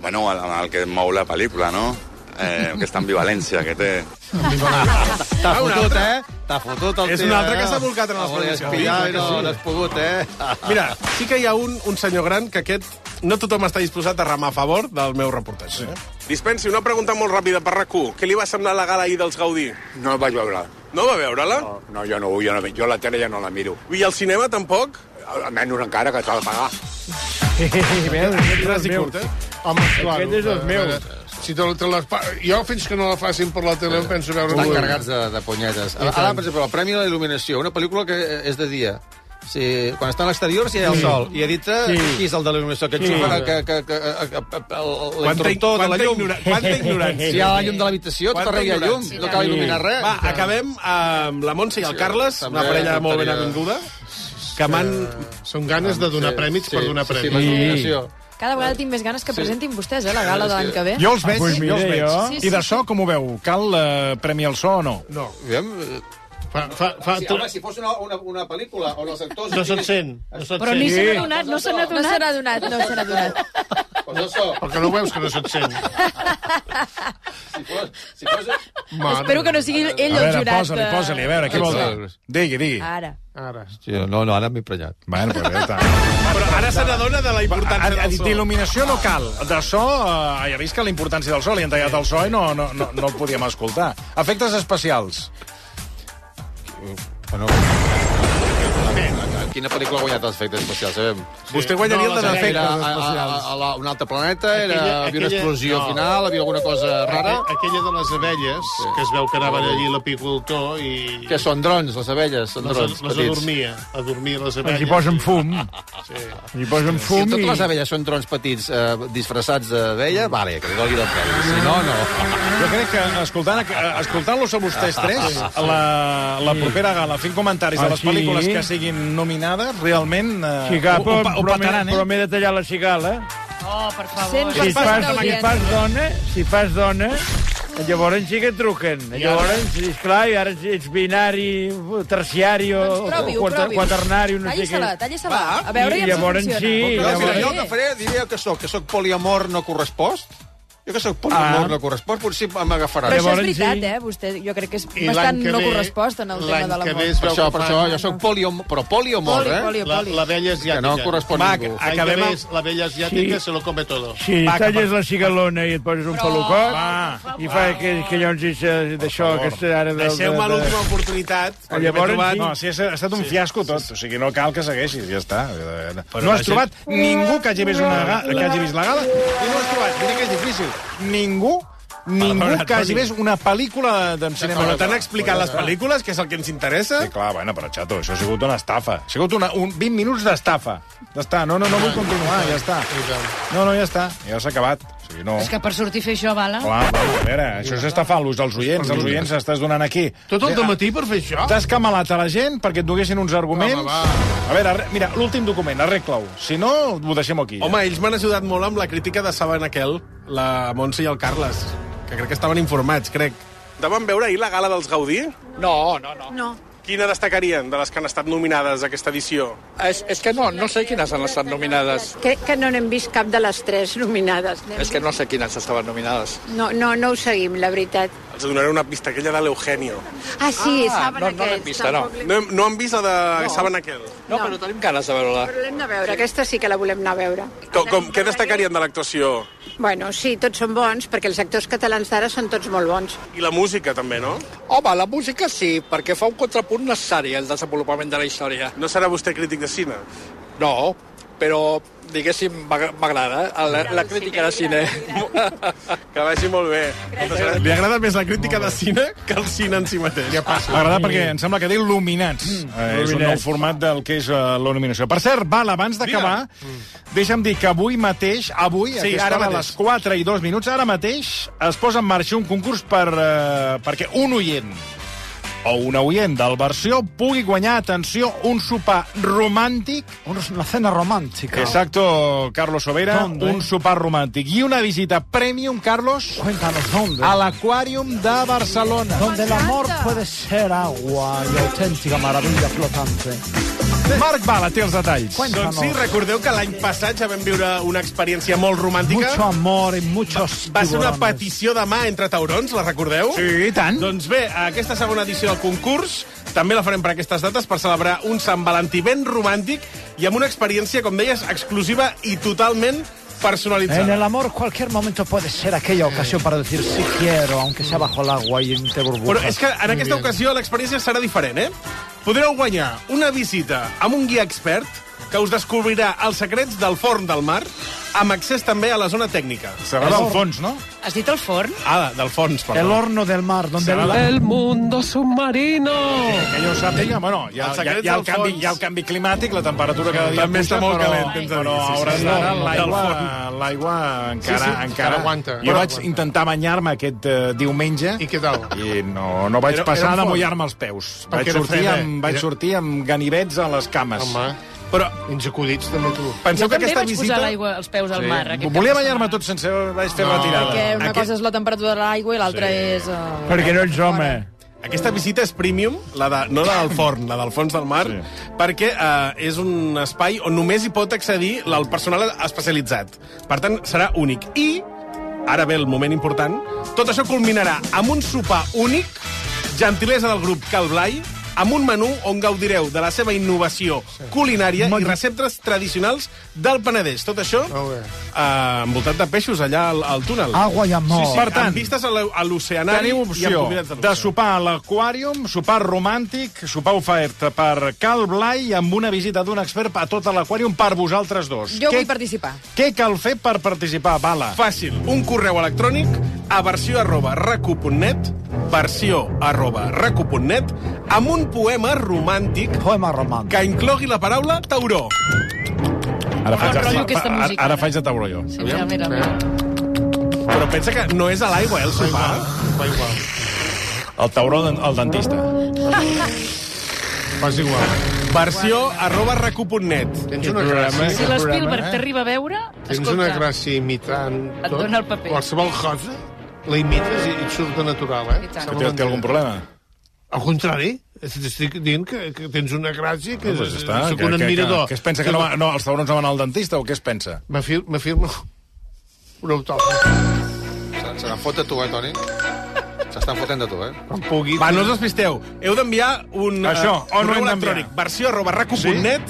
Speaker 17: Bueno, el, el que mou la pel·lícula, no? Eh, aquesta ambivalència que té.
Speaker 7: T'ha fotut, eh? T'ha fotut el eh?
Speaker 2: És un altre que s'ha volcat en les
Speaker 7: pel·lícules.
Speaker 2: pel·lícules.
Speaker 7: Ja,
Speaker 2: Sí,
Speaker 7: no,
Speaker 2: sí.
Speaker 7: no has pogut, eh?
Speaker 2: Mira, sí que hi ha un, un senyor gran que aquest no tothom està disposat a remar a favor del meu reportatge. eh? Sí.
Speaker 6: Dispensi, una pregunta molt ràpida per rac Què li va semblar la gala ahir dels Gaudí?
Speaker 18: No la vaig veure.
Speaker 6: No va veure-la?
Speaker 18: No, no, jo no, jo, no, jo la tele ja no la miro.
Speaker 6: I al cinema tampoc?
Speaker 18: Almenys encara, que t'ha de pagar.
Speaker 2: Ras i curt, eh?
Speaker 5: Home, clar.
Speaker 18: Aquest és el meu.
Speaker 5: Si te, te les pa... Jo fins que no la facin per la tele em penso veure...
Speaker 7: Estan carregats de, de punyetes.
Speaker 5: I
Speaker 7: Ara,
Speaker 5: tant.
Speaker 7: per exemple, el Premi a la Il·luminació, una pel·lícula que eh, és de dia. Sí, quan està a l'exterior, si hi ha el
Speaker 5: Sí.
Speaker 7: sol. I a dintre,
Speaker 5: Sí.
Speaker 7: qui és el de la il·luminació? Que
Speaker 5: Sí.
Speaker 7: xufa sí. que, que, que, que, que, que el- l'interruptor de la
Speaker 2: quanta
Speaker 7: llum.
Speaker 2: ignora- quanta ignorància.
Speaker 7: Si hi ha la llum de l'habitació, tot arreu hi ha llum. No cal il·luminar res.
Speaker 2: Va, acabem amb la Montse i el
Speaker 7: Sí,
Speaker 2: Carles,
Speaker 7: també
Speaker 2: una parella molt ben
Speaker 7: faltaria-
Speaker 2: avinguda, que m'han...
Speaker 5: Són ganes de donar prèmits per donar
Speaker 7: sí, sí,
Speaker 5: prèmits.
Speaker 7: l'il·luminació.
Speaker 4: Cada vegada tinc més ganes que presentin vostès, eh, la gala de l'any que ve.
Speaker 1: Jo els veig,
Speaker 4: Avui
Speaker 1: jo els
Speaker 4: miré,
Speaker 1: veig.
Speaker 4: Ah, doncs jo.
Speaker 1: I de so, com ho veu? Cal eh, premi al so o no?
Speaker 5: No.
Speaker 7: Aviam,
Speaker 2: eh,
Speaker 5: Fa, fa, fa,
Speaker 7: Sí,
Speaker 5: tu-
Speaker 7: home, si fos una, una, una pel·lícula on els actors...
Speaker 5: No se'n sent, no se'n
Speaker 3: Però
Speaker 5: sent.
Speaker 3: ni
Speaker 5: Sí.
Speaker 3: se n'ha adonat, no se n'ha
Speaker 4: No se
Speaker 3: adonat.
Speaker 4: n'ha donat, no se n'ha donat.
Speaker 5: El que no ho veus que no se't sent.
Speaker 7: Si fos...
Speaker 5: Mare.
Speaker 4: Espero que no sigui ell
Speaker 1: A
Speaker 4: el
Speaker 1: veure,
Speaker 4: jurat.
Speaker 1: posa-li,
Speaker 4: eh,
Speaker 1: posa-li, a veure, què vol dir? Digui, digui.
Speaker 4: Ara.
Speaker 5: Ara.
Speaker 7: Sí, no, no, ara m'he prenyat.
Speaker 1: Bueno, però bé, tant. Però
Speaker 2: ara se n'adona de la
Speaker 1: Ha,
Speaker 2: importància
Speaker 1: ha
Speaker 2: del
Speaker 1: dit
Speaker 2: so.
Speaker 1: il·luminació no cal. De so, eh, ja vist que la importància del so, li han tallat el so i no, no, no, no el podíem escoltar. Efectes especials.
Speaker 7: Bueno, Quina pel·lícula ha guanyat els efectes especials, sabem?
Speaker 2: Vostè guanyaria el de
Speaker 7: era
Speaker 2: efectes
Speaker 7: a- a-
Speaker 2: especials.
Speaker 7: A, a, la- un altre planeta, era, hi havia una explosió
Speaker 5: no.
Speaker 7: final, havia alguna cosa rara...
Speaker 5: Aquella, aquella de les abelles, sí. que es veu que anaven allí l'apicultor i...
Speaker 7: Que són drons, les abelles, són
Speaker 5: Les,
Speaker 7: drons
Speaker 5: les, les
Speaker 7: petits.
Speaker 5: adormia, adormia les
Speaker 14: Doncs
Speaker 5: abelles.
Speaker 7: Aquí posen
Speaker 1: fum.
Speaker 5: Sí.
Speaker 1: Hi posen
Speaker 7: Si totes les abelles són drons petits eh, disfressats d'abella, vale, que li doni del premi. Si no, no.
Speaker 1: Jo crec que, escoltant, eh, escoltant-los a
Speaker 7: Ah,
Speaker 1: vostès tres, la, la propera gala, fent comentaris de
Speaker 14: Ah,
Speaker 1: les
Speaker 14: sí?
Speaker 1: pel·lícules que siguin nominades, realment... Eh,
Speaker 14: Xicapa,
Speaker 1: ho- ho pa- ho
Speaker 14: però m'he-
Speaker 1: petaran, eh?
Speaker 14: però m'he de tallar la cigala.
Speaker 3: Oh, per favor.
Speaker 11: eh?
Speaker 14: Si fas, si fas dona, si fas dona, Llavors sí que et truquen. Llavors, esclar, i ara ets- ets binari, terciari, o
Speaker 4: Doncs provi-ho,
Speaker 14: quater-
Speaker 4: provi-ho.
Speaker 14: quaternari, no sé
Speaker 4: Talla-se-la,
Speaker 14: què.
Speaker 4: talla-se-la. A veure,
Speaker 14: I
Speaker 4: ja
Speaker 14: llavors sí,
Speaker 7: Clar, mira,
Speaker 14: llavors-
Speaker 7: jo el que faré, diré el que sóc, que sóc poliamor no correspost. Jo que sóc poliamor
Speaker 14: Ah.
Speaker 7: no correspost, potser m'agafarà.
Speaker 4: Però això és veritat, eh? Vostè, jo crec que és
Speaker 7: I
Speaker 4: bastant
Speaker 7: l'any que
Speaker 4: no
Speaker 7: ve-
Speaker 4: correspost en el tema de
Speaker 7: Per
Speaker 4: l'amor.
Speaker 7: això, per això, jo sóc poliamor, però poliamor,
Speaker 4: Poli,
Speaker 7: eh?
Speaker 4: poli, poli.
Speaker 7: La, la vella és ja... Que no correspon a
Speaker 5: Mac,
Speaker 7: ningú.
Speaker 5: acabem
Speaker 7: L'any que
Speaker 5: amb-
Speaker 7: ve és La vella asiàtica se lo come todo.
Speaker 14: Si
Speaker 5: Va,
Speaker 14: talles
Speaker 5: que-
Speaker 14: la cigalona i et poses un pelucot, i fa que, que llavors és eh, d'això, que és ara... del-
Speaker 2: Deixeu-me
Speaker 14: de- de-
Speaker 2: l'última oportunitat.
Speaker 14: Ah, llavors sí.
Speaker 1: No, sí, ha estat un fiasco tot. O sigui, no cal que segueixis, ja està. Eh,
Speaker 2: Però
Speaker 1: No
Speaker 2: la
Speaker 1: has
Speaker 2: gent-
Speaker 1: trobat ningú que hagi vist, una, ga- que hagi vist la gala i no has trobat, mira que és difícil, ningú ningú
Speaker 2: Perdona,
Speaker 1: que hagi
Speaker 2: Toni.
Speaker 1: vist una pel·lícula de cinema.
Speaker 2: Però t'han explicat les pel·lícules, que és el que ens interessa?
Speaker 1: Sí, clar, bueno, però, xato, això ha sigut una estafa. Ha sigut una, un 20 minuts d'estafa. Ja està, no, no, no vull continuar, ja està. No, no, ja està, ja s'ha acabat. O sigui, no...
Speaker 3: És que per sortir a fer això, vala...
Speaker 1: Clar, clar, a veure, això és estafant-los, els oients, els oients estàs donant aquí. Tot el matí per fer això? T'has camalat a la gent perquè et donessin uns arguments. a veure, arre- mira, l'últim document, arregla-ho. Si no, ho deixem aquí.
Speaker 2: Home, ells m'han ajudat molt amb la crítica de Saban Aquel, la Montse i el Carles, que crec que estaven informats, crec.
Speaker 19: De van veure ahir la gala dels Gaudí? No, no, no.
Speaker 16: No.
Speaker 19: Quina destacarien de les que han estat nominades a aquesta edició?
Speaker 20: És, és que no, no sé quines han estat nominades.
Speaker 21: Crec que no n'hem vist cap de les tres nominades. N'hem
Speaker 20: És que no sé quines estaven nominades.
Speaker 21: vist- No, no, no ho seguim, la veritat.
Speaker 19: Els donaré una pista, aquella de l'Eugenio.
Speaker 21: Ah, sí, saben
Speaker 20: no, no
Speaker 21: aquests.
Speaker 20: l'hem vista, no.
Speaker 21: tampoc l'hem-
Speaker 19: No, hem- no han vist la de no. Saben Aquel?
Speaker 20: No, però tenim ganes de veure-la.
Speaker 21: Però l'hem de veure, aquesta sí que la volem anar a veure.
Speaker 19: Com, com, què destacarien de l'actuació?
Speaker 21: Bueno, sí, tots són bons, perquè els actors catalans d'ara són tots molt bons.
Speaker 19: I la música, també, no?
Speaker 20: Home, la música sí, perquè fa un contrapunt necessari al desenvolupament de la història.
Speaker 19: No serà vostè crític de cine?
Speaker 20: No, però, diguéssim, m'ag- m'agrada eh, la, la crítica de cine.
Speaker 19: Que vagi molt bé.
Speaker 2: Li agrada més la crítica de cine que el cine en si mateix. Ja passa.
Speaker 1: M'agrada perquè em sembla que té il·luminats. Mm, eh, és un nou
Speaker 2: il·luminats.
Speaker 1: format del que és eh, la il·luminació. Per cert, Val, abans d'acabar, deixa'm dir que avui mateix, avui,
Speaker 2: Sí,
Speaker 1: Mm. sí, aquesta
Speaker 2: ara
Speaker 1: hora, a
Speaker 2: mateix.
Speaker 1: les 4 i 2 minuts, ara mateix es posa en marxa un concurs per, eh, perquè un oient o un oient del versió pugui guanyar, atenció, un sopar romàntic.
Speaker 11: Una cena romàntica.
Speaker 1: Exacto, Carlos Sobera,
Speaker 11: ¿Dónde?
Speaker 1: un sopar romàntic i una visita premium, Carlos, a l'Aquàrium de Barcelona.
Speaker 11: Donde el amor puede ser agua y auténtica maravilla flotante.
Speaker 1: Marc Bala té els detalls.
Speaker 2: Doncs sí, recordeu que l'any passat ja vam viure una experiència molt romàntica.
Speaker 11: Mucho amor y muchos
Speaker 2: Va ser una
Speaker 11: tiburones.
Speaker 2: petició de mà entre taurons, la recordeu? Sí,
Speaker 1: i tant.
Speaker 2: Doncs bé, aquesta segona edició del concurs també la farem per aquestes dates per celebrar un Sant Valentí ben romàntic i amb una experiència, com deies, exclusiva i totalment
Speaker 11: En
Speaker 2: personalitzada.
Speaker 11: el amor cualquier momento puede ser aquella ocasión para decir sí quiero, aunque sea bajo el agua y entre burbujas.
Speaker 2: Però és que en aquesta ocasió l'experiència serà diferent, eh? Podreu guanyar una visita amb un guia expert que us descobrirà els secrets del forn del mar, amb accés també a la zona tècnica.
Speaker 1: Serà del fons, no?
Speaker 3: Has dit el forn?
Speaker 2: Ah, del fons, perdó.
Speaker 11: El horno del mar, donde
Speaker 2: Será la-
Speaker 11: el mundo submarino.
Speaker 1: Que jo sàpiga, bueno, hi ha,
Speaker 2: Els
Speaker 1: hi ha,
Speaker 2: secrets
Speaker 1: hi ha, el
Speaker 2: del
Speaker 1: canvi,
Speaker 2: fons.
Speaker 1: hi ha el canvi climàtic, la temperatura cada dia
Speaker 2: També està molt
Speaker 1: però-
Speaker 2: calent, hem de dir,
Speaker 1: Però
Speaker 2: sí, sí,
Speaker 1: a hores
Speaker 2: sí.
Speaker 1: d'ara
Speaker 2: Del
Speaker 1: l'aigua
Speaker 2: forn.
Speaker 1: l'aigua encara,
Speaker 2: Sí, sí, encara
Speaker 1: encara
Speaker 2: aguanta.
Speaker 1: Jo
Speaker 2: Però
Speaker 1: vaig
Speaker 2: aguanta.
Speaker 1: intentar banyar-me aquest eh, diumenge. I què tal? I no, no vaig
Speaker 2: Era- era
Speaker 1: passar
Speaker 2: un
Speaker 1: de
Speaker 2: fort.
Speaker 1: mullar-me els peus.
Speaker 2: Perquè
Speaker 1: Vaig
Speaker 2: era
Speaker 1: sortir,
Speaker 2: fred, eh?
Speaker 1: amb, vaig
Speaker 2: Era-
Speaker 1: sortir amb ganivets a les cames.
Speaker 2: Home.
Speaker 1: Però...
Speaker 5: Insacudits, també, tu.
Speaker 2: Penseu
Speaker 3: jo
Speaker 2: que
Speaker 3: també
Speaker 2: aquesta
Speaker 3: vaig
Speaker 2: visita...
Speaker 3: posar l'aigua als peus al mar. aquest
Speaker 1: Volia
Speaker 3: cap de
Speaker 1: banyar-me tot sencer, vaig fer
Speaker 2: No.
Speaker 1: retirada.
Speaker 4: Perquè una
Speaker 2: Aquest-
Speaker 4: cosa és la temperatura de l'aigua i l'altra és... Uh...
Speaker 2: Perquè
Speaker 14: no ets home.
Speaker 2: Aquesta visita és premium, la de, no la del forn, la del fons del mar, sí. perquè eh, és un espai on només hi pot accedir el personal especialitzat. Per tant, serà únic. I, ara ve el moment important, tot això culminarà amb un sopar únic, gentilesa del grup Cal Blai, amb un menú on gaudireu de la seva innovació culinària i receptes tradicionals del Penedès. Tot això eh, envoltat de peixos allà al, al túnel.
Speaker 11: Agua i amor.
Speaker 2: Sí, sí, per
Speaker 1: Per tant,
Speaker 2: tant, amb vistes a l'e- a l'oceanari i
Speaker 1: Teniu
Speaker 2: amb
Speaker 1: opció
Speaker 2: convidats de
Speaker 1: de sopar a l'aquàrium, sopar romàntic, sopar ofert per Cal Blai amb una visita d'un expert a tot l'aquàrium per vosaltres dos.
Speaker 4: Jo
Speaker 1: què,
Speaker 4: vull participar.
Speaker 1: què cal fer per participar, Bala?
Speaker 2: Fàcil, un correu electrònic a versió arroba recu.net versió arroba recu.net amb un poema romàntic
Speaker 11: poema romàntic
Speaker 2: que inclogui la paraula tauró.
Speaker 1: Ara faig,
Speaker 2: Però
Speaker 1: ara,
Speaker 2: jo aquesta
Speaker 1: ara,
Speaker 2: música,
Speaker 1: ara faig de tauró jo.
Speaker 3: setmana. Mira, mira, mira.
Speaker 2: Però pensa que no és a l'aigua, eh, el sopar.
Speaker 5: Va igual.
Speaker 1: El tauró del el dentista.
Speaker 5: Vas igual.
Speaker 2: Versió arroba recu.net.
Speaker 5: Tens una
Speaker 1: eh?
Speaker 5: gràcia.
Speaker 3: Si l'Spielberg t'arriba a veure,
Speaker 5: Tens
Speaker 3: escolta,
Speaker 5: una gràcia imitant
Speaker 3: et
Speaker 5: tot.
Speaker 3: dona el paper.
Speaker 5: Qualsevol cosa. la imites i, i et surt de natural, eh? Sembla
Speaker 1: Té, té
Speaker 5: mentida.
Speaker 1: algun problema?
Speaker 5: Al contrari, t'estic dient que, que tens una gràcia que
Speaker 1: No, doncs ja està.
Speaker 5: sóc
Speaker 1: Que-
Speaker 5: un
Speaker 1: que-
Speaker 5: admirador.
Speaker 1: Que, que es pensa que no, va- no, els taurons no van al dentista o què es pensa?
Speaker 5: M'afir- M'afirmo un autògraf.
Speaker 7: Se, se n'en fot de tu, eh, Toni? S'estan fotent de tu, eh?
Speaker 5: Quan pugui.
Speaker 2: Va, no us despisteu. Heu d'enviar un
Speaker 1: Això,
Speaker 2: eh,
Speaker 1: on ho
Speaker 2: correu
Speaker 1: hem d'enviar?
Speaker 2: electrònic. Versió arroba racu.net.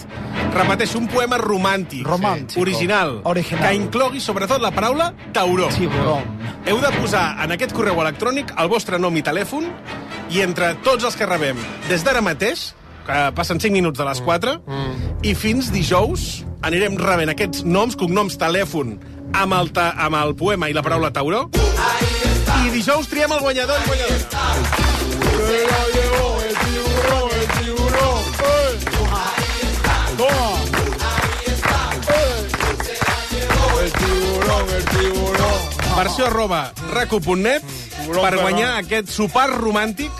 Speaker 2: Repeteixo, un poema romàntic.
Speaker 8: Romàntic.
Speaker 2: Original.
Speaker 8: Original.
Speaker 2: Que inclogui, sobretot, la paraula tauró.
Speaker 8: Tiburón.
Speaker 2: Heu de posar en aquest correu electrònic el vostre nom i telèfon i entre tots els que rebem des d'ara mateix, que passen 5 minuts de les 4,
Speaker 3: Mm.
Speaker 2: i fins dijous anirem rebent aquests noms, cognoms, telèfon, amb el, ta amb el poema i la paraula tauró. I dijous triem el guanyador i guanyadora. Versió arroba racu.net
Speaker 5: Mm,
Speaker 2: per guanyar aquest sopar romàntic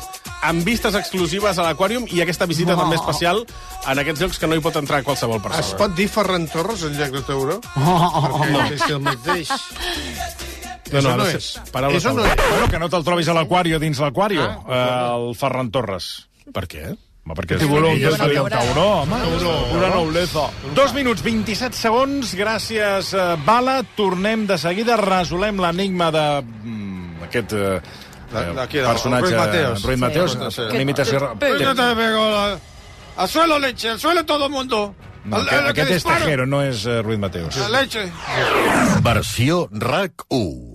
Speaker 2: amb vistes exclusives a l'aquàrium i aquesta visita
Speaker 5: No.
Speaker 2: també especial en aquests llocs que no hi pot entrar qualsevol
Speaker 5: Es
Speaker 2: persona.
Speaker 5: pot dir Ferran Torres en lloc de Tauró? Perquè
Speaker 2: no.
Speaker 5: no sé si el mateix.
Speaker 1: No, no,
Speaker 5: Això no
Speaker 1: ara
Speaker 5: és.
Speaker 1: sí, paraula
Speaker 5: Això no
Speaker 1: tauró.
Speaker 5: és.
Speaker 1: Bueno, que no te'l trobis a l'aquario, dins l'aquario. Ah, el Ferran Torres. Per què? Home, perquè és
Speaker 11: Tiburón,
Speaker 1: ell és
Speaker 11: tauró.
Speaker 1: un tauró, home.
Speaker 11: Una nobleza.
Speaker 1: Dos minuts, 27 segons. Gràcies, eh, Bala. Tornem de seguida. Resolem l'enigma de... mm, aquest... eh,
Speaker 7: d'aquí,
Speaker 1: eh,
Speaker 7: del
Speaker 1: personatge
Speaker 7: Ruiz Mateos.
Speaker 1: Ruiz Mateos,
Speaker 7: Sí, sí.
Speaker 1: l'imitació...
Speaker 7: Yo te
Speaker 5: pego la- Al suelo, leche, al suelo todo el mundo.
Speaker 1: No,
Speaker 5: Al-
Speaker 1: aquest,
Speaker 5: al que
Speaker 1: aquest és
Speaker 5: dispara.
Speaker 1: Tejero, no és eh, Ruiz Mateos.
Speaker 5: La leche.
Speaker 9: Versió RAC 1.